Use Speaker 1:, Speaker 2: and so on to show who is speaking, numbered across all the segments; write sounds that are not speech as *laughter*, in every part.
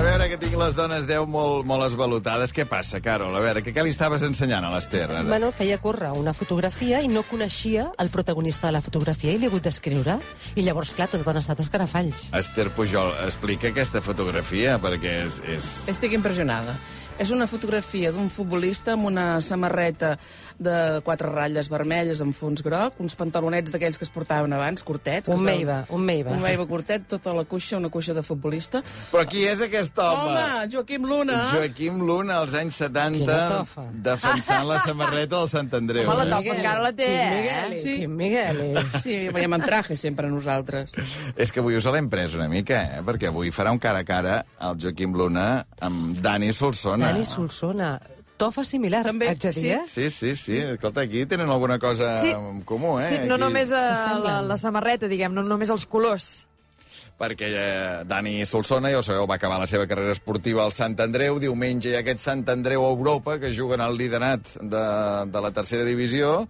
Speaker 1: les dones 10 molt, molt esvalutades. Què passa, Carol? A veure, què, què li estaves ensenyant a l'Ester?
Speaker 2: Bueno, el feia córrer una fotografia i no coneixia el protagonista de la fotografia i li he hagut d'escriure. I llavors, clar, tot han estat escarafalls.
Speaker 1: Esther Pujol, explica aquesta fotografia, perquè és... és...
Speaker 3: Estic impressionada. És una fotografia d'un futbolista amb una samarreta de quatre ratlles vermelles amb fons groc, uns pantalonets d'aquells que es portaven abans, curtets. que
Speaker 2: Un
Speaker 3: es veuen-
Speaker 2: meiva, un meiva.
Speaker 3: Un meiva curtet, tota la cuixa, una cuixa de futbolista.
Speaker 1: Però qui és aquest home?
Speaker 3: Home, Joaquim
Speaker 4: ah.
Speaker 3: Luna!
Speaker 1: Joaquim Luna, als anys 70,
Speaker 2: Quina tofa.
Speaker 1: defensant la samarreta del Sant Andreu.
Speaker 4: Home, la
Speaker 1: eh?
Speaker 4: tofa encara la té,
Speaker 2: Quim
Speaker 4: eh?
Speaker 2: Miguel,
Speaker 3: Sí.
Speaker 2: Quim Miguel.
Speaker 1: Ah.
Speaker 3: Sí, veiem amb traje sempre nosaltres.
Speaker 1: És que avui us l'hem pres una mica, eh? Perquè avui farà un cara a cara el Joaquim Luna amb Dani Solsona.
Speaker 2: Dani Solsona, tofa similar,
Speaker 3: També,
Speaker 2: haig de dir, eh?
Speaker 1: Sí, sí, sí. Escolta, aquí tenen alguna cosa
Speaker 4: Sí.
Speaker 1: en comú, eh?
Speaker 4: Sí, no
Speaker 1: aquí...
Speaker 4: només eh, la,
Speaker 2: S'assemblen.
Speaker 4: la samarreta, diguem, no només els colors.
Speaker 1: perquè eh, Dani Solsona, ja ho sabeu, va acabar la seva carrera esportiva al Sant Andreu. Diumenge hi ha aquest Sant Andreu a Europa, que juguen al liderat de, de la tercera divisió,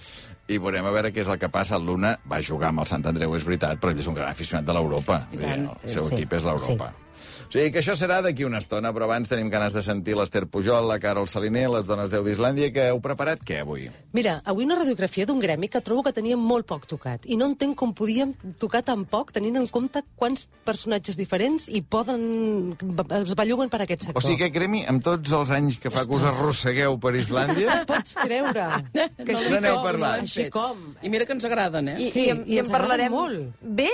Speaker 1: i veurem a veure què és el que passa. El Luna va jugar amb el Sant Andreu, és veritat, però ell és un gran aficionat de l'Europa. Vull dir, El seu
Speaker 2: Sí,
Speaker 1: equip és l'Europa. O sigui que això serà d'aquí una estona, però abans tenim ganes de sentir l'Ester Pujol, la Carol Saliner, les dones 10 d'Islàndia, que heu preparat què avui?
Speaker 2: Mira, avui una radiografia d'un gremi que trobo que tenia molt poc tocat. I no entenc com podíem tocar tan poc, tenint en compte quants personatges diferents i poden... es belluguen per aquest
Speaker 1: O
Speaker 2: sector.
Speaker 1: sigui que, Cremi, amb tots els anys que fa que us arrossegueu per
Speaker 2: *laughs*
Speaker 1: Islàndia...
Speaker 2: Pots creure
Speaker 1: *laughs*
Speaker 2: que
Speaker 1: No n'aneu parlant.
Speaker 2: Així com.
Speaker 3: I mira que ens agraden, eh?
Speaker 4: I,
Speaker 2: Sí,
Speaker 4: i, en-
Speaker 2: i ens
Speaker 4: en
Speaker 2: agraden
Speaker 4: parlarem
Speaker 2: molt. Ah,
Speaker 4: bé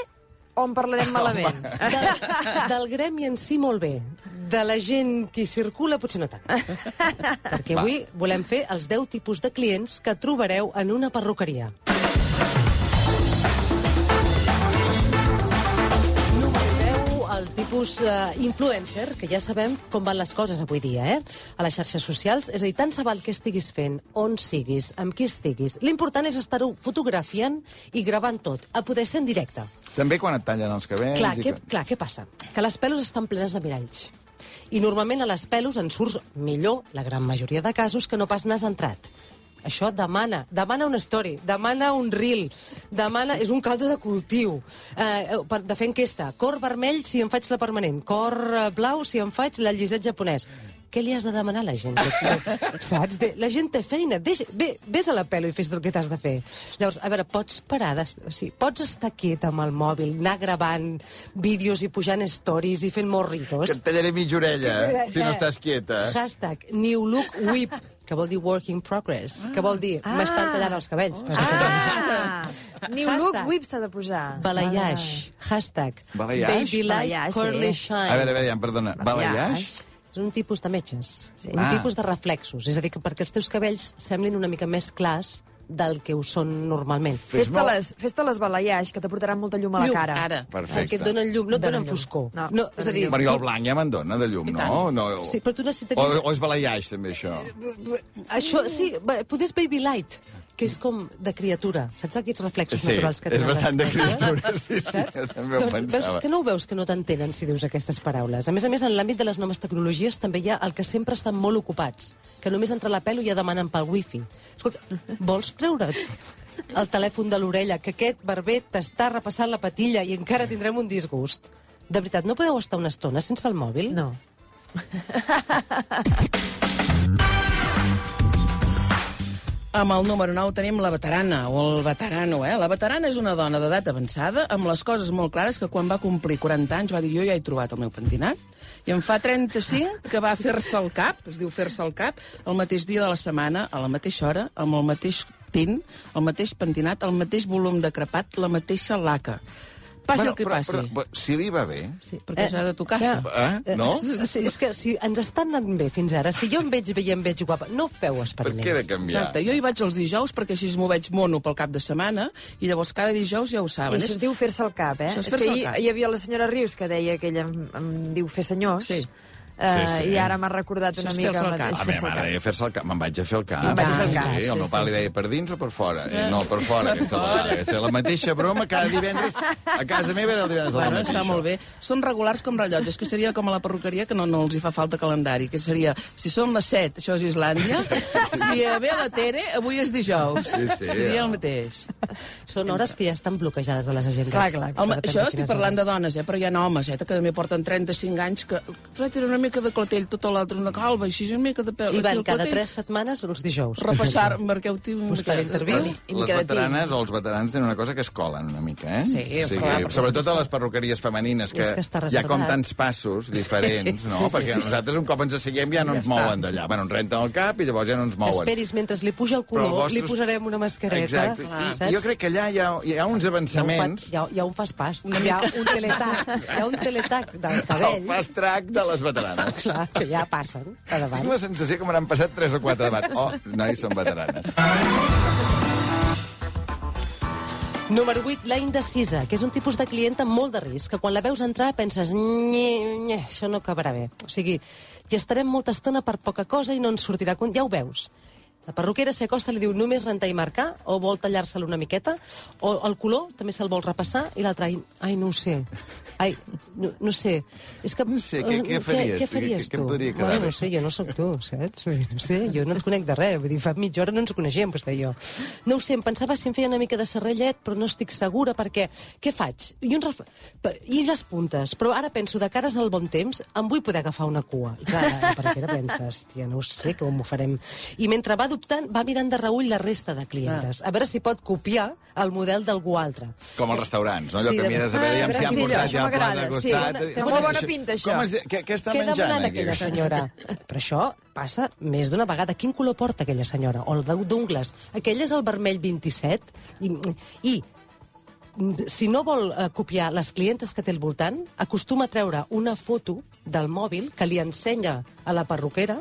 Speaker 4: o en parlarem malament?
Speaker 1: *laughs*
Speaker 2: Del, del gremi en si molt bé. De la gent que hi circula potser no tant. Perquè avui volem fer els 10 tipus de clients que trobareu en una perruqueria. Veureu el tipus eh, influencer, que ja sabem com van les coses avui dia, eh? A les xarxes socials, és a dir, tant se val què estiguis fent, on siguis, amb qui estiguis. L'important és estar-ho fotografiant i gravant tot, a poder ser en directe.
Speaker 1: També quan et tallen els cabells...
Speaker 2: Clar,
Speaker 1: i
Speaker 2: què,
Speaker 1: que-
Speaker 2: clar, què passa? Que les pelos estan plenes de miralls. I normalment a les pelos en surts millor, la gran majoria de casos, que no pas n'has entrat. Això demana, demana una story, demana un reel, demana... És un caldo de cultiu. Eh, per, de fer enquesta. Cor vermell si em faig la permanent. Cor eh, blau si em faig la llisat japonès. Què li has de demanar a la gent? Saps? De, la gent té feina. Deixa, ve, vés a la pelo i fes el que t'has de fer. Llavors, a veure, pots parar, de, o sigui, pots estar quiet amb el mòbil, anar gravant vídeos i pujant stories i fent morritos.
Speaker 1: Que et tallaré mitja orella, eh, si no estàs quieta.
Speaker 2: Hashtag New Look Whip, que vol dir Work in Progress, que vol dir
Speaker 4: Ah.
Speaker 2: m'estan tallant els cabells.
Speaker 4: *laughs*
Speaker 1: Oh.
Speaker 4: Ah! New
Speaker 2: Hashtag.
Speaker 4: look whip s'ha de posar.
Speaker 2: Balayage. Hashtag
Speaker 1: Balayage?
Speaker 2: Baby Light
Speaker 4: Balayage, sí.
Speaker 2: Curly Shine.
Speaker 1: A veure, a veure, ja, perdona. Balayage?
Speaker 2: És un tipus de metges, sí. un
Speaker 1: Ah.
Speaker 2: tipus de reflexos. És a dir, que perquè els teus cabells semblin una mica més clars del que ho són normalment.
Speaker 4: Fes-te les, fes les balayage, que t'aportaran molta llum a la
Speaker 2: Llum,
Speaker 4: cara.
Speaker 3: Ara.
Speaker 2: Perquè et
Speaker 1: Perfecte.
Speaker 2: donen llum, no et
Speaker 4: Donen
Speaker 2: donen
Speaker 4: llum.
Speaker 2: foscor.
Speaker 4: No,
Speaker 2: és a
Speaker 4: donen
Speaker 2: dir,
Speaker 4: llum.
Speaker 1: Perquè el blanc ja me'n dona de llum, no? no?
Speaker 2: Sí, però tu
Speaker 1: o,
Speaker 2: necessitaries- eh,
Speaker 1: o és balayage, també, això?
Speaker 2: Això, sí, va, potser és Baby Light, que és com de criatura. Saps aquests reflexos
Speaker 1: Sí,
Speaker 2: naturals que
Speaker 1: és
Speaker 2: tenen les
Speaker 1: bastant de
Speaker 2: persones?
Speaker 1: criatura, sí, sí, *laughs*
Speaker 2: Saps?
Speaker 1: jo també ho
Speaker 2: doncs,
Speaker 1: pensava.
Speaker 2: Veus, que no ho veus que no t'entenen si dius aquestes paraules? A més a més, en l'àmbit de les noves tecnologies també hi ha el que sempre estan molt ocupats, que només entre la pelo ja demanen pel wifi. Escolta, vols treure't el telèfon de l'orella, que aquest barber t'està repassant la patilla i encara tindrem un disgust? De veritat, no podeu estar una estona sense el mòbil?
Speaker 4: No.
Speaker 3: Amb el número 9 tenim la veterana, o el veterano, eh? La veterana és una dona d'edat avançada, amb les coses molt clares, que quan va complir 40 anys va dir jo ja he trobat el meu pentinat, i en fa 35 que va fer-se el cap, es diu fer-se el cap, el mateix dia de la setmana, a la mateixa hora, amb el mateix tint, el mateix pentinat, el mateix volum de crepat, la mateixa laca. Passi el que
Speaker 1: però,
Speaker 3: passi.
Speaker 1: Però, però, si li va bé...
Speaker 2: Sí.
Speaker 3: perquè s'ha de tocar,
Speaker 2: clar,
Speaker 3: això.
Speaker 1: Eh? No?
Speaker 2: Sí, és que si ens estan anant bé fins ara, si jo em veig bé i em veig guapa, no feu
Speaker 1: Per
Speaker 2: experiments.
Speaker 1: què he de canviar?
Speaker 3: Exacte, jo hi vaig els dijous perquè així m'ho veig mono pel cap de setmana i llavors cada dijous ja ho
Speaker 4: I
Speaker 3: saben.
Speaker 4: això es diu fer-se el cap, eh?
Speaker 3: Ah, Això és
Speaker 4: és que
Speaker 3: fer-se el
Speaker 4: hi,
Speaker 3: cap.
Speaker 4: hi havia la senyora Rius que deia que ella em, em diu fer senyors.
Speaker 3: Sí.
Speaker 4: Eh,
Speaker 1: Sí, sí.
Speaker 4: I ara m'ha recordat
Speaker 3: Això
Speaker 4: una
Speaker 3: és
Speaker 4: mica...
Speaker 3: fer-se el
Speaker 4: el
Speaker 3: cap.
Speaker 4: mateix,
Speaker 1: A mi
Speaker 4: fer-se el
Speaker 1: m'agrada
Speaker 4: cap.
Speaker 1: deir fer-se el cap. Me'n vaig a fer el cap.
Speaker 4: Me'n vaig a fer el cap,
Speaker 1: Sí, el
Speaker 4: sí,
Speaker 1: meu pare
Speaker 4: sí,
Speaker 1: li deia per dins o per fora. I no, per fora, aquesta vegada. Aquesta, la mateixa broma cada divendres. A casa meva era el divendres a la
Speaker 3: Bueno,
Speaker 1: mateixa.
Speaker 3: està molt bé. Són regulars com rellotges, que seria com a la perruqueria, que no, no els hi fa falta calendari, que seria, si són les 7, això és Islàndia, si ve la Tere, avui és dijous.
Speaker 1: Sí, sí.
Speaker 3: seria el mateix.
Speaker 2: són hores que ja estan bloquejades de les agendes.
Speaker 4: Clar, clar, clar.
Speaker 3: Home, això estic parlant de dones, eh? però hi ha homes, eh? que també porten 35 anys, que l'altre era una mica de clatell, tota l'altra una calva, així una mica de pèl.
Speaker 2: I van
Speaker 3: Aquí el
Speaker 2: cada
Speaker 3: clatell,
Speaker 2: tres setmanes els dijous.
Speaker 3: Repassar, marqueu-t'hi una
Speaker 2: Buscar interviews.
Speaker 1: Les, les veteranes o els veterans tenen una cosa que es colen una mica, eh?
Speaker 3: Sí, és clar, perquè
Speaker 1: sobretot
Speaker 3: sí
Speaker 1: a
Speaker 3: que
Speaker 1: les perruqueries femenines,
Speaker 2: I
Speaker 1: que,
Speaker 2: és que està
Speaker 1: hi ha com
Speaker 2: reservat.
Speaker 1: tants passos diferents, no?
Speaker 2: Sí, sí,
Speaker 1: Perquè
Speaker 2: sí.
Speaker 1: nosaltres un cop ens asseguem ja no ens mouen d'allà. Bueno, ens renten el cap i llavors ja no ens *laughs* mouen.
Speaker 2: Esperis mentre li puja el
Speaker 1: Però
Speaker 2: color,
Speaker 1: el vostre-
Speaker 2: li posarem una mascareta.
Speaker 1: Exacte. I,
Speaker 2: saps?
Speaker 1: i jo crec que allà hi ha, hi ha uns
Speaker 2: Hi ha un, fa,
Speaker 1: avançaments...
Speaker 2: hi ha, hi ha un fast pass, hi ha un teletac, hi ha un teletac
Speaker 1: *laughs*
Speaker 2: del cabell,
Speaker 1: El fast track de les veteranes.
Speaker 2: clar, que ja passen a davant.
Speaker 1: Tinc la sensació que me n'han passat 3 o 4
Speaker 2: *laughs*
Speaker 1: davant. Oh, nois, són veteranes.
Speaker 2: Número 8, la indecisa, que és un tipus de clienta molt de risc, que quan la veus entrar penses, nye, nye, això no acabarà bé. O sigui, hi estarem molta estona per poca cosa i no ens sortirà compte, ja ho veus. La perruquera s'hi acosta i li diu només rentar i marcar, o vol tallar-se-la una miqueta, o el color també se'l vol repassar, i l'altre, ai, ai, no ho sé, ai, no, no sé. És que,
Speaker 1: No sé, què-
Speaker 2: eh,
Speaker 1: què faries?
Speaker 2: Què, què faries
Speaker 1: Què- què
Speaker 2: tu?
Speaker 1: em podria quedar
Speaker 2: Bueno,
Speaker 1: bé?
Speaker 2: no sé, jo no sóc tu, saps? Vull dir, No sé, jo no et conec de res. Vull dir, fa mitja hora no ens coneixem, vostè i jo. No ho sé, em pensava si em feia una mica de serrellet, però no estic segura perquè... Què faig? I, un ref... per- I les puntes. Però ara penso, de cares al bon temps, em vull poder agafar una cua. I clar, per què pensa? Hòstia, no ho sé, com ho farem. I mentre va dubtant, va mirant de reull la resta de clientes. A veure si pot copiar el model d'algú altre.
Speaker 1: Com els restaurants, no? Allò
Speaker 2: Sí,
Speaker 1: que
Speaker 2: de-
Speaker 1: mires a veure,
Speaker 4: Ah,
Speaker 1: ja s'hi han
Speaker 4: sí,
Speaker 1: portat
Speaker 4: allò,
Speaker 1: ja el plat de
Speaker 4: m'agrada, sí.
Speaker 1: costat.
Speaker 4: Té molt bona pinta, això.
Speaker 1: Com es, di- què, què està
Speaker 2: Què
Speaker 1: menjant,
Speaker 2: demana
Speaker 1: aquí?
Speaker 2: aquella
Speaker 1: *laughs*
Speaker 2: senyora? Però això passa més d'una vegada. Quin color porta aquella senyora? O el d'u- d'ungles? Aquell és el vermell 27? I, i mm, si no vol eh, copiar les clientes que té al voltant, acostuma a treure una foto del mòbil que li ensenya a la perruquera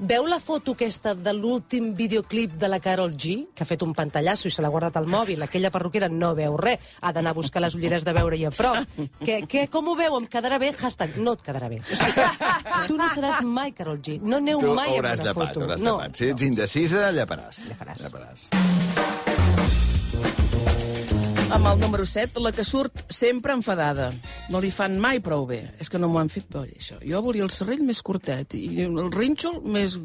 Speaker 2: Veu la foto aquesta de l'últim videoclip de la Carol G, que ha fet un pantallasso i se l'ha guardat al mòbil? Aquella perruquera no veu res, ha d'anar a buscar les ulleres de veure i a prop. Que, que, com ho veu? Em quedarà bé? Hashtag, no et quedarà bé. O sigui, tu no seràs mai Carol G, no aneu
Speaker 1: Tu
Speaker 2: mai a
Speaker 1: hauràs
Speaker 2: una
Speaker 1: de pat,
Speaker 2: foto.
Speaker 1: hauràs de
Speaker 2: no.
Speaker 1: pat. Si ets indecisa, lleparàs.
Speaker 2: Lleparàs.
Speaker 1: lleparàs.
Speaker 3: Amb el número 7, la que surt sempre enfadada. No li fan mai prou bé. És que no m'ho han fet bé, això. Jo volia el serrell més curtet, i el rínxol més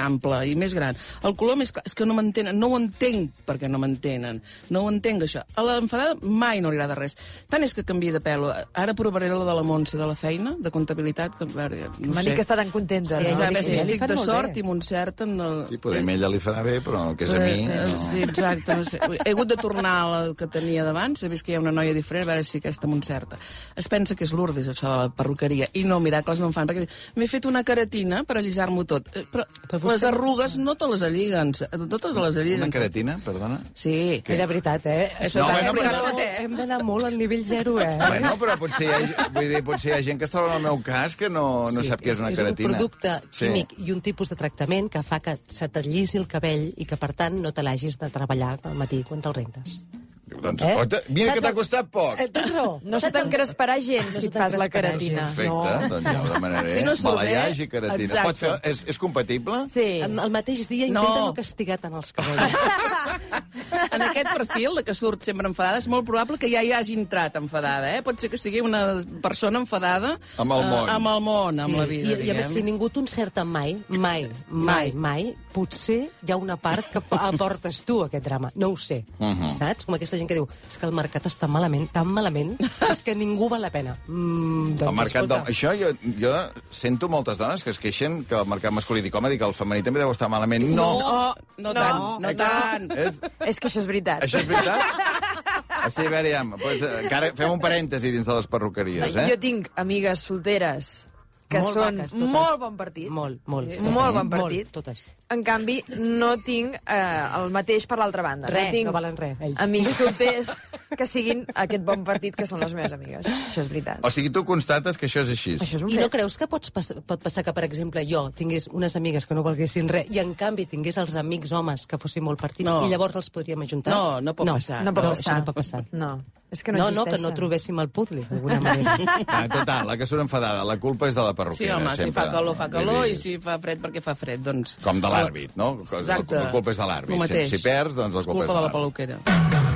Speaker 3: ample i més gran. El color més clar. És que no m'entenen. No ho entenc perquè no m'entenen. No ho entenc, això. A l'enfadada mai no li agrada res. Tant és que canvia de pèl. Ara provaré la de la Montse de la feina, de comptabilitat, que a veure, no
Speaker 4: Una
Speaker 3: sé.
Speaker 4: mica està tan contenta.
Speaker 2: Sí,
Speaker 3: A
Speaker 4: no?
Speaker 2: ja
Speaker 3: veure
Speaker 2: sí,
Speaker 3: si
Speaker 2: ja li
Speaker 3: estic
Speaker 2: fan
Speaker 3: de
Speaker 2: molt
Speaker 3: sort
Speaker 2: bé.
Speaker 3: i m'encert en el...
Speaker 1: Sí, podem, ella li farà bé, però el que és a mi...
Speaker 3: Sí, Eh, sí,
Speaker 1: No.
Speaker 3: exacte. No sé. He hagut de tornar a la que tenia d'abans, he vist que hi ha una noia diferent, a veure si aquesta m'encerta. Es pensa que és Lourdes, això de la perruqueria, i no, miracles no en fan, perquè m'he fet una caratina per allisar-m'ho tot. Eh, Però,
Speaker 2: Però
Speaker 3: però
Speaker 2: vostè-
Speaker 3: les arrugues no te les alliguen, no te les
Speaker 1: Una
Speaker 3: alliguen.
Speaker 1: caratina, perdona?
Speaker 3: Sí.
Speaker 2: Era veritat, eh?
Speaker 3: Això
Speaker 1: t'ha
Speaker 2: hem
Speaker 1: explicat
Speaker 2: d'anar-
Speaker 3: tot, eh?
Speaker 2: Hem d'anar molt al nivell zero, eh?
Speaker 1: Bueno, però potser hi, ha, vull dir, potser hi ha gent que es troba en el meu cas que no, no
Speaker 3: Sí,
Speaker 1: sap què és una
Speaker 2: és
Speaker 1: caratina.
Speaker 2: un producte químic i un tipus de tractament que fa que se t'allissi el cabell i que, per tant, no te l'hagis de treballar al matí quan te'l rentes.
Speaker 1: Sí. Doncs, eh? Mira
Speaker 2: Saps
Speaker 1: que t'ha
Speaker 2: el-
Speaker 1: costat poc.
Speaker 2: Eh, tens raó.
Speaker 4: No se t'encresparà gens
Speaker 2: No
Speaker 4: si
Speaker 2: se
Speaker 4: et fas la
Speaker 2: t'encresparà
Speaker 4: caratina.
Speaker 2: gens.
Speaker 1: Perfecte,
Speaker 2: No.
Speaker 1: doncs ja ho demanaré.
Speaker 3: Si no surt bé,
Speaker 1: Balayage i caratina. Es pot fer,
Speaker 3: exacte.
Speaker 1: és, és compatible?
Speaker 4: Sí.
Speaker 2: Em- El mateix dia
Speaker 3: No.
Speaker 2: intenta no castigar tant els
Speaker 3: *laughs*
Speaker 2: cabells.
Speaker 3: En aquest perfil, la que surt sempre enfadada, és molt probable que ja hi hagi entrat enfadada, eh? Pot ser que sigui una persona enfadada...
Speaker 1: Amb el
Speaker 3: eh,
Speaker 1: món.
Speaker 3: amb el món, amb la
Speaker 2: I,
Speaker 3: vida,
Speaker 2: I a més,
Speaker 3: diguem.
Speaker 2: si ningú t'encerta mai, mai,
Speaker 3: Mai.
Speaker 2: mai, mai, potser hi ha una part que *laughs* p- aportes tu a aquest drama. No ho sé, uh
Speaker 1: Mhm.
Speaker 2: -huh. saps? Com aquesta gent que diu, és que el mercat està malament, tan malament, és que ningú val la pena. Mm, doncs,
Speaker 1: El mercat
Speaker 2: escolta,
Speaker 1: d'home. Això jo, jo sento moltes dones que es queixen que el mercat masculí dic, home, dic, el femení també deu estar malament. No!
Speaker 3: No, no,
Speaker 4: No,
Speaker 3: tant, no,
Speaker 4: no.
Speaker 3: tant.
Speaker 1: És,
Speaker 4: És que això és veritat.
Speaker 1: això és veritat? O sigui, a veure, ja, doncs, eh, encara fem un parèntesi dins de les perruqueries, eh?
Speaker 4: Jo tinc amigues solteres que
Speaker 2: molt
Speaker 4: són
Speaker 2: maques, totes.
Speaker 4: molt bon partit.
Speaker 2: Molt, molt.
Speaker 4: Sí.
Speaker 2: totes. eh?
Speaker 4: Molt bon partit.
Speaker 2: Molt, totes.
Speaker 4: En canvi, no tinc eh, el mateix per l'altra banda.
Speaker 2: Res,
Speaker 4: no, tinc
Speaker 2: no valen res, ells.
Speaker 4: Amics solters que siguin aquest bon partit que són les meves amigues. Això és veritat.
Speaker 1: O sigui, tu constates que això és així.
Speaker 4: Això és un
Speaker 2: I no
Speaker 4: fet.
Speaker 2: creus que pots pas pot passar que, per exemple, jo tingués unes amigues que no volguessin res i, en canvi, tingués els amics homes que fossin molt partits
Speaker 3: No.
Speaker 2: i llavors els podríem ajuntar?
Speaker 3: No, no pot passar.
Speaker 4: No pot
Speaker 2: no,
Speaker 4: passar.
Speaker 2: això no pot passar.
Speaker 4: No. És que no,
Speaker 2: No, no, que
Speaker 4: existeixen.
Speaker 2: no trobéssim el puzzle, d'alguna manera.
Speaker 1: Ah, total, la que surt enfadada, la culpa és de la
Speaker 3: Sí,
Speaker 1: perruquera.
Speaker 3: home, si
Speaker 1: sempre.
Speaker 3: fa calor, fa
Speaker 1: Vull
Speaker 3: calor,
Speaker 1: dir,
Speaker 3: i si fa fred perquè fa fred, doncs...
Speaker 1: Com de l'àrbit, no?
Speaker 3: Exacte.
Speaker 1: La culpa és de l'àrbit.
Speaker 3: El mateix.
Speaker 1: Si, si perds, doncs la
Speaker 3: És
Speaker 1: culpa,
Speaker 3: culpa de la
Speaker 1: és de l'àrbit.
Speaker 3: peluquera.
Speaker 2: *laughs*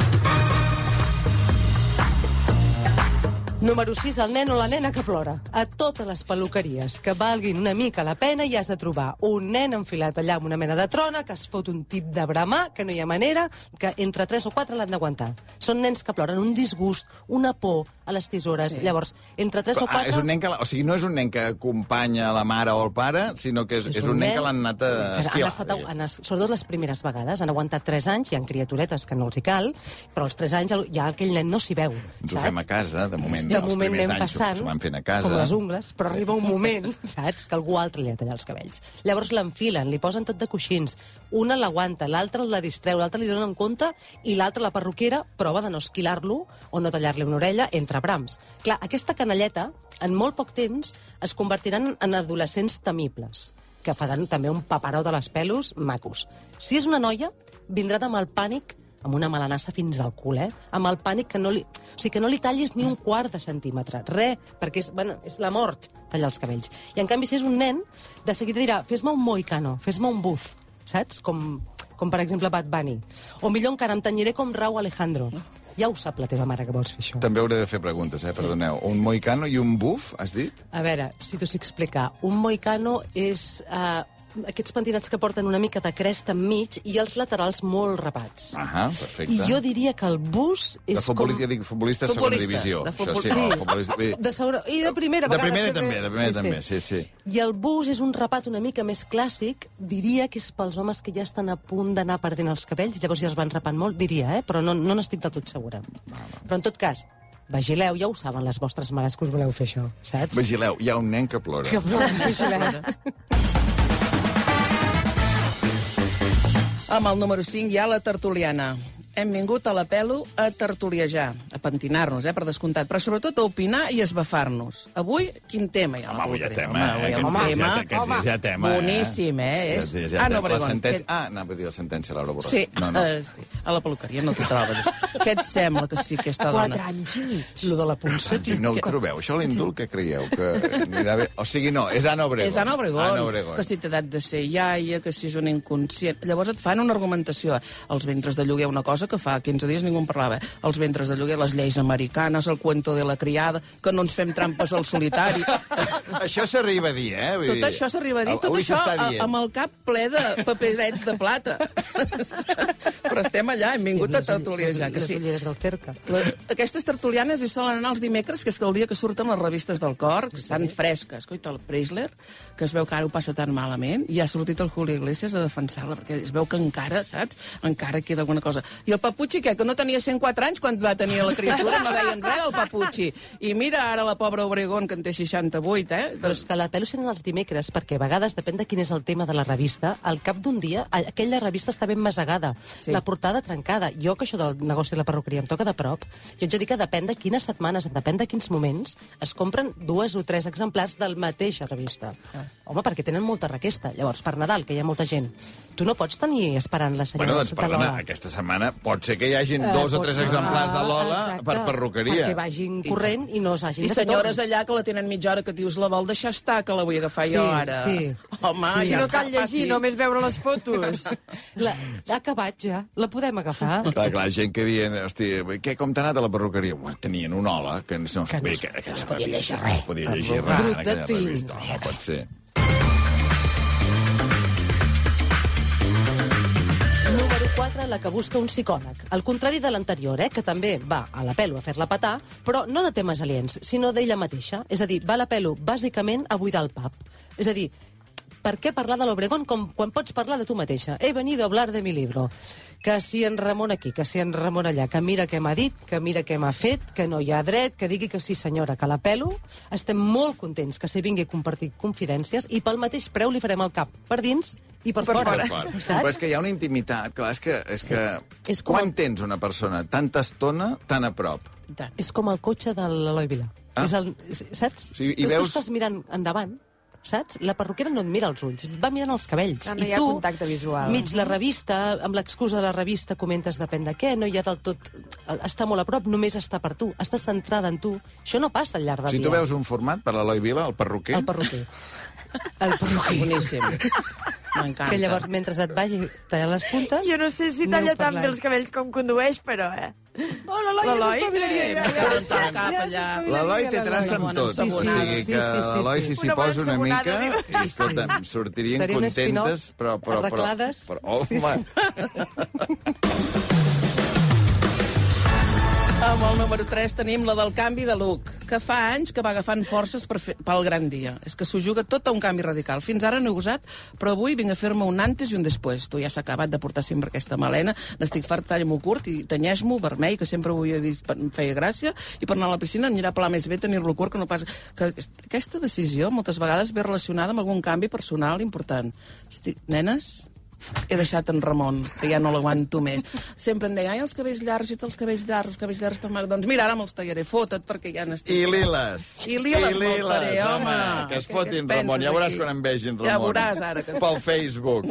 Speaker 2: Número 6, el nen o la nena que plora. A totes les peluqueries que valguin una mica la pena hi has de trobar un nen enfilat allà amb una mena de trona que es fot un tip de bramar, que no hi ha manera, que entre 3 o 4 l'han d'aguantar. Són nens que ploren un disgust, una por a les tisores. Sí. Llavors, entre 3
Speaker 1: Però,
Speaker 2: o 4...
Speaker 1: ah, és un nen que, la- o sigui, no és un nen que acompanya la mare o el pare, sinó que és, és, un, nen que l'han anat a
Speaker 2: Sí, que
Speaker 1: esquivar.
Speaker 2: Han estat,
Speaker 1: diguem.
Speaker 2: han, es- sobretot les primeres vegades, han aguantat 3 anys, hi ha criaturetes que no els hi cal, però als 3 anys el- ja aquell nen no s'hi veu,
Speaker 1: Ens ho
Speaker 2: saps?
Speaker 1: fem a casa, de moment.
Speaker 2: de
Speaker 1: els
Speaker 2: moment
Speaker 1: primers
Speaker 2: anem
Speaker 1: anys s'ho-
Speaker 2: passant,
Speaker 1: S'ho van fent a casa.
Speaker 2: com les ungles, però arriba un moment, *laughs* saps, que algú altre li ha tallat els cabells. Llavors l'enfilen, li posen tot de coixins, una l'aguanta, l'altra la distreu, l'altra li dona en compte i l'altra, la perruquera, prova de no esquilar-lo o no tallar-li una orella entre brams. Clar, aquesta canalleta, en molt poc temps, es convertiran en adolescents temibles que faran també un paperot a les pelus macos. Si és una noia, vindran amb el pànic amb una malanassa fins al cul, eh? Amb el pànic que no li... O sigui, que no li tallis ni un quart de centímetre. Re, perquè és, bueno, és la mort tallar els cabells. I en canvi, si és un nen, de seguida dirà, fes-me un moicano, fes-me un buf, saps? Com, com per exemple Bad Bunny. O millor encara, em tenyiré com Rau Alejandro. Ja ho sap la teva mare que vols fer això.
Speaker 1: També hauré de fer preguntes, eh? Perdoneu. Un moicano i un buf, has dit?
Speaker 2: A veure, si t'ho sé explicar. Un moicano és eh, aquests pentinats que porten una mica de cresta enmig i els laterals molt rapats.
Speaker 1: Ahà, perfecte.
Speaker 2: I jo diria que el bus és
Speaker 1: de futbolista,
Speaker 2: com...
Speaker 1: dic, futbolista de segona
Speaker 3: Futbolista,
Speaker 1: divisió.
Speaker 3: de
Speaker 1: Això
Speaker 3: futbol-
Speaker 1: sí,
Speaker 3: sí.
Speaker 1: no, futbolista... bé.
Speaker 2: De segona... I de primera
Speaker 1: De
Speaker 2: vegada.
Speaker 1: primera també, de primera també, sí, sí.
Speaker 2: I el bus és un rapat una mica més clàssic, diria que és pels homes que ja estan a punt d'anar perdent els cabells, llavors ja es van rapant molt, diria, eh? però no no n'estic del tot segura. Però en tot cas, vigileu, ja ho saben les vostres mares que us voleu fer això, saps?
Speaker 1: Vigileu, hi ha un nen que plora.
Speaker 2: Que voleu vigilar.
Speaker 3: Amb el número 5 hi ha la tertuliana. Hem vingut a la pelo a tertuliejar, a pentinar-nos, eh, per descomptat, però sobretot a opinar i a esbafar-nos. Avui, quin tema hi ha? a la
Speaker 1: Home, avui hi ha
Speaker 3: tertuliana?
Speaker 1: tema, eh?
Speaker 3: avui hi ha
Speaker 1: Aquests
Speaker 3: un
Speaker 1: dies hi ha-
Speaker 3: tema.
Speaker 1: aquests dies hi ha tema, eh?
Speaker 3: Boníssim, eh? És...
Speaker 1: Aquests dies hi ha
Speaker 3: Ana
Speaker 1: tema. la
Speaker 3: Obregón,
Speaker 1: sentència...
Speaker 3: què-
Speaker 1: Ah, anava a dir la sentència, Laura Borràs.
Speaker 3: Sí,
Speaker 1: No, no.
Speaker 3: eh, sí, a la peluqueria no t'hi
Speaker 1: *laughs*
Speaker 3: trobes. Què et sembla que sí, aquesta dona?
Speaker 4: Quatre anys i mig.
Speaker 2: Lo de la punxa,
Speaker 1: Sí, no ho trobeu. Això l'indult que creieu que anirà bé? O sigui, no, és Ana Obregón.
Speaker 3: És Ana Obregón,
Speaker 1: Ana Obregón.
Speaker 3: que si té edat de ser iaia, que si és un inconscient... Llavors et fan una argumentació. Els ventres de lloguer, una cosa que fa 15 dies ningú en parlava. Els ventres de lloguer, les lleis americanes, el cuento de la criada, que no ens fem trampes
Speaker 1: *laughs*
Speaker 3: al solitari.
Speaker 1: Això s'arriva a dir, eh? Vull
Speaker 3: Tot
Speaker 1: dir,
Speaker 3: això s'arriba a dir,
Speaker 1: av-
Speaker 3: tot
Speaker 1: Ah, avui
Speaker 3: això
Speaker 1: s'està
Speaker 3: a-
Speaker 1: dient.
Speaker 3: amb el cap ple de paperets de plata.
Speaker 1: *laughs*
Speaker 3: Però estem allà, hem vingut a tertuliejar, que
Speaker 2: Les
Speaker 3: sí.
Speaker 2: ulleres del cerca.
Speaker 3: La, aquestes tertulianes hi solen anar els dimecres, que és el dia que surten les revistes del cor, que estan fresques. Coita, el Preisler, que es veu que ara ho passa tan malament, i ha sortit el Julio Iglesias a defensar-la, perquè es veu que encara, saps? Encara queda alguna cosa. I el Papucci, què? Que no tenia 104 anys quan va tenir la criatura, no deien res del Papucci. I mira ara la pobra Obregón, que en té 68, eh?
Speaker 2: Però és que la pelo sent els dimecres, perquè a vegades, depèn de quin és el tema de la revista, al cap d'un dia a- aquella revista està ben masegada, sí. la portada trencada. Jo, que això del negoci de la perruqueria em toca de prop, jo ets a dir que depèn de quines setmanes, depèn de quins moments, es compren dues o tres exemplars del mateixa revista. Ah. Home, perquè tenen molta requesta. Llavors, per Nadal, que hi ha molta gent, tu no pots tenir esperant la senyora
Speaker 1: Bueno, doncs,
Speaker 2: de Santa
Speaker 1: perdona,
Speaker 2: Lola.
Speaker 1: aquesta setmana pot ser que hi hagin
Speaker 2: Eh,
Speaker 1: dos o
Speaker 2: pot
Speaker 1: tres
Speaker 2: ser.
Speaker 1: exemplars de Lola
Speaker 2: Exacte,
Speaker 1: per perruqueria.
Speaker 2: Perquè vagin corrent i, no s'hagin
Speaker 3: I
Speaker 2: de fer
Speaker 3: senyores
Speaker 2: torns.
Speaker 3: allà que la tenen mitja hora que dius la vol deixar estar, que la vull agafar
Speaker 2: Sí,
Speaker 3: jo ara.
Speaker 2: sí.
Speaker 3: Home,
Speaker 2: Sí.
Speaker 3: sí, Ah,
Speaker 4: Si
Speaker 3: ja
Speaker 4: no
Speaker 3: està,
Speaker 4: cal llegir,
Speaker 3: passi.
Speaker 4: només veure les fotos.
Speaker 2: La, ha acabat ja. La podem agafar?
Speaker 1: Clar, clar, gent que dient, hosti, què, com t'ha anat a la perruqueria? Home, tenien una ola que no, que bé, que, que no es podia llegir res. No es podia llegir res en aquella
Speaker 2: Brutatins.
Speaker 1: revista. No pot ser.
Speaker 2: Número 4, la que busca un psicòleg. Al contrari de l'anterior, eh, que també va a la pelo a fer-la petar, però no de temes aliens, sinó d'ella mateixa. És a dir, va a la pelo bàsicament a buidar el pap. És a dir, per què parlar de l'Obregón com quan pots parlar de tu mateixa? He venido a hablar de mi libro. Que si en Ramon aquí, que si en Ramon allà, que mira què m'ha dit, que mira què m'ha fet, que no hi ha dret, que digui que sí senyora, que la pelo. Estem molt contents que se vingui a compartir confidències i pel mateix preu li farem el cap per dins i per, fora.
Speaker 1: D'acord. Però
Speaker 2: Saps?
Speaker 1: és que hi ha una intimitat, clar, és que... És que...
Speaker 2: És com-
Speaker 1: Quan tens una persona tanta estona, tan a prop?
Speaker 3: I tant.
Speaker 2: És com el cotxe de l'Eloi Vila.
Speaker 1: Ah.
Speaker 2: Ah. És el, és- saps?
Speaker 1: Sí, i
Speaker 2: tu,
Speaker 1: veus-
Speaker 2: tu estàs mirant endavant, saps? La perruquera no et mira els ulls, va mirant els cabells.
Speaker 4: Ah, no
Speaker 2: I
Speaker 4: hi ha
Speaker 2: tu,
Speaker 4: contacte visual.
Speaker 2: mig la revista, amb l'excusa de la revista, comentes depèn de què, no hi ha del tot... Està molt a prop, només està per tu, està centrada en tu. Això no passa al llarg del
Speaker 1: Si
Speaker 2: dia.
Speaker 1: tu veus un format per l'Eloi Vila, el perruquer...
Speaker 2: El perruquer. El perruquer.
Speaker 4: *laughs*
Speaker 3: Boníssim. M'encanta.
Speaker 2: que llavors, mentre et vagi tallant les puntes...
Speaker 4: Jo no sé si
Speaker 2: aneu
Speaker 4: talla tan bé
Speaker 2: parlant.
Speaker 4: els cabells com condueix, però, eh?
Speaker 2: Oh, l'Eloi és
Speaker 4: L'Eloi?
Speaker 2: espavilaria.
Speaker 3: Eh,
Speaker 2: Ja,
Speaker 3: tant, tant,
Speaker 2: ja és
Speaker 3: cap allà.
Speaker 2: espavilaria,
Speaker 1: L'Eloi té
Speaker 2: l'Eloi.
Speaker 1: traça amb
Speaker 3: Bona
Speaker 1: tot.
Speaker 3: sabonada.
Speaker 1: o sigui
Speaker 2: Sí, sí,
Speaker 1: que
Speaker 2: sí, sí,
Speaker 1: l'Eloi,
Speaker 2: sí.
Speaker 1: si s'hi
Speaker 4: Una bona
Speaker 1: posa una mica...
Speaker 4: sabonada,
Speaker 1: I, escolta'm, sortirien
Speaker 2: Seria un
Speaker 1: contentes,
Speaker 2: spin-off,
Speaker 1: però... però, però,
Speaker 2: arreglades.
Speaker 1: però oh,
Speaker 2: Sí,
Speaker 1: sí,
Speaker 2: sí.
Speaker 1: sí.
Speaker 3: Amb el número 3 tenim la del canvi de look, que fa anys que va agafant forces per fer, pel gran dia. És que s'ho juga tot a un canvi radical. Fins ara no he gosat, però avui vinc a fer-me un antes i un després. Tu ja s'ha acabat de portar sempre aquesta melena, n'estic fart, talla-m'ho curt i tenyeix-m'ho vermell, que sempre ho havia vist, per- em feia gràcia, i per anar a la piscina anirà a pelar més bé tenir-lo curt que no pas... Que est- aquesta decisió moltes vegades ve relacionada amb algun canvi personal important. Estic... Nenes, he deixat en Ramon, que ja no l'aguanto més. Sempre em deia, ai, els cabells llargs, i els cabells llargs, els cabells llargs te'n van... Doncs mira, ara me'ls tallaré, fota't, perquè ja
Speaker 1: I
Speaker 3: n'estic...
Speaker 1: liles.
Speaker 3: I liles me'ls faré, home.
Speaker 1: Que es
Speaker 3: Què-
Speaker 1: fotin,
Speaker 3: què et
Speaker 1: Ramon. Ja
Speaker 3: penses
Speaker 1: veuràs
Speaker 3: aquí?
Speaker 1: quan em vegin, Ramon.
Speaker 3: Ja veuràs ara que-
Speaker 1: Pel Facebook.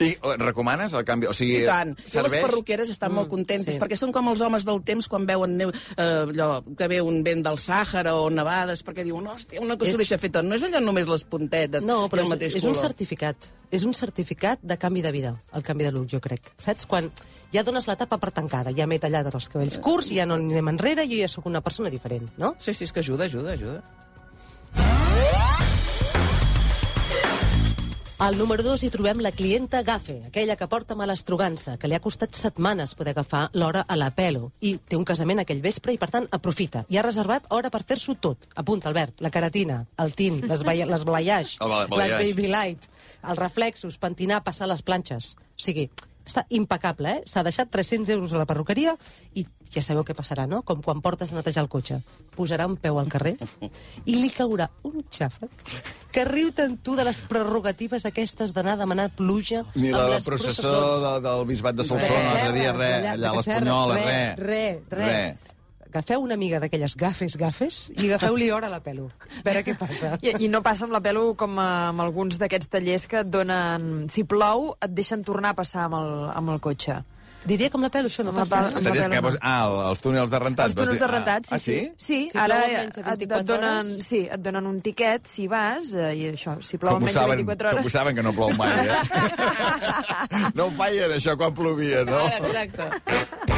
Speaker 1: I oh, recomanes el canvi? O sigui,
Speaker 3: I tant. Jo les
Speaker 1: serveix?
Speaker 3: perruqueres estan mm, molt contentes, sí. perquè són com els homes del temps quan veuen neu, eh, allò, que ve un vent del Sàhara o nevades, perquè diuen, hòstia, una cosa
Speaker 2: És-
Speaker 3: s'ho deixa fer tot. No és allà només les puntetes
Speaker 2: No, però
Speaker 3: i el
Speaker 2: és,
Speaker 3: mateix
Speaker 2: és un
Speaker 3: color.
Speaker 2: certificat. És un certificat de canvi de vida, el canvi de look, jo crec. Saps? Quan ja dones l'etapa per tancada, ja m'he tallat els cabells curts, ja no anem enrere, jo ja sóc una persona diferent, no?
Speaker 3: Sí, sí, és que ajuda, ajuda, ajuda.
Speaker 2: Al número 2 hi trobem la clienta Gafe, aquella que porta mala estrogança, que li ha costat setmanes poder agafar l'hora a la pelo. I té un casament aquell vespre i, per tant, aprofita. I ha reservat hora per fer-s'ho tot. Apunta, Albert, la keratina, el tint, les, baia- les balayage,
Speaker 1: El ba-
Speaker 2: les
Speaker 1: balayage.
Speaker 2: baby light, els reflexos, pentinar, passar les planxes. O sigui, està impecable, eh? S'ha deixat 300 euros a la perruqueria i ja sabeu què passarà, no? Com quan portes a netejar el cotxe. Posarà un peu al carrer i li caurà un xàfec que riu tant tu de les prerrogatives aquestes d'anar a demanar pluja
Speaker 1: Ni la,
Speaker 2: amb
Speaker 1: la
Speaker 2: les
Speaker 1: processó
Speaker 2: processons.
Speaker 1: de, del Bisbat de Solsona,
Speaker 2: Res,
Speaker 1: l'altre dia, res, allà
Speaker 2: allà,
Speaker 1: a
Speaker 2: de
Speaker 1: l'Espunyola,
Speaker 2: Casserres,
Speaker 1: res.
Speaker 2: Res, res, res. Agafeu una miga d'aquelles gafes, gafes, i agafeu-li hora a la pelo. A veure què passa.
Speaker 4: I, I no passa amb la pelo com eh, amb alguns d'aquests tallers que et donen... Si plou, et deixen tornar a passar amb el, amb el cotxe.
Speaker 2: Diria com la pelo, això no
Speaker 4: Amb la
Speaker 2: passa. eh?
Speaker 4: pelo- amb la
Speaker 1: Seria que
Speaker 4: pelo no.
Speaker 1: vols- Ah, el- els túnels de rentat.
Speaker 4: Els túnels
Speaker 1: vols dir?
Speaker 4: de rentat, sí,
Speaker 1: ah, sí.
Speaker 4: Sí,
Speaker 2: Si
Speaker 4: sí ara
Speaker 2: plou menys de
Speaker 4: et, et
Speaker 2: 24
Speaker 4: donen,
Speaker 2: hores.
Speaker 4: sí, et donen un tiquet si vas, eh, i això, si plou
Speaker 1: Com ho,
Speaker 4: menys
Speaker 1: saben,
Speaker 4: de 24
Speaker 1: com ho
Speaker 4: hores...
Speaker 1: saben que no plou mai, eh?
Speaker 4: *laughs*
Speaker 1: no ho feien, això, quan plovia, no?
Speaker 3: Ara, Exacte.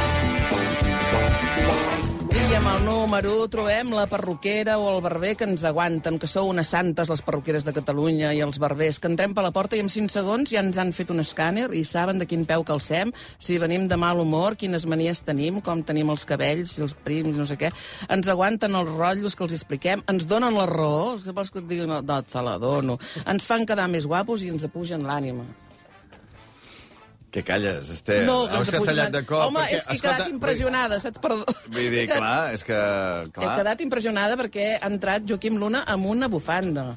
Speaker 3: I amb el número 1 trobem la perruquera o el barber que ens aguanten, que sou unes santes les perruqueres de Catalunya i els barbers, que entrem per la porta i en 5 segons ja ens han fet un escàner i saben de quin peu calcem, si venim de mal humor, quines manies tenim, com tenim els cabells, si els prims, no sé què. Ens aguanten els rotllos que els expliquem, ens donen la raó, què vols que et digui? No, no, te la dono. Ens fan quedar més guapos i ens apugen l'ànima.
Speaker 1: Que calles, Esther.
Speaker 3: No, que
Speaker 1: Has
Speaker 3: ens apugen
Speaker 1: castellat de
Speaker 3: l'ànima.
Speaker 1: cop.
Speaker 3: Home,
Speaker 1: perquè,
Speaker 3: és que he
Speaker 1: escolta,
Speaker 3: quedat impressionada, saps? Perdó.
Speaker 1: Vull, vull dir, clar, és que...
Speaker 3: He
Speaker 1: Clar.
Speaker 3: quedat impressionada perquè ha entrat Joaquim Luna amb una bufanda.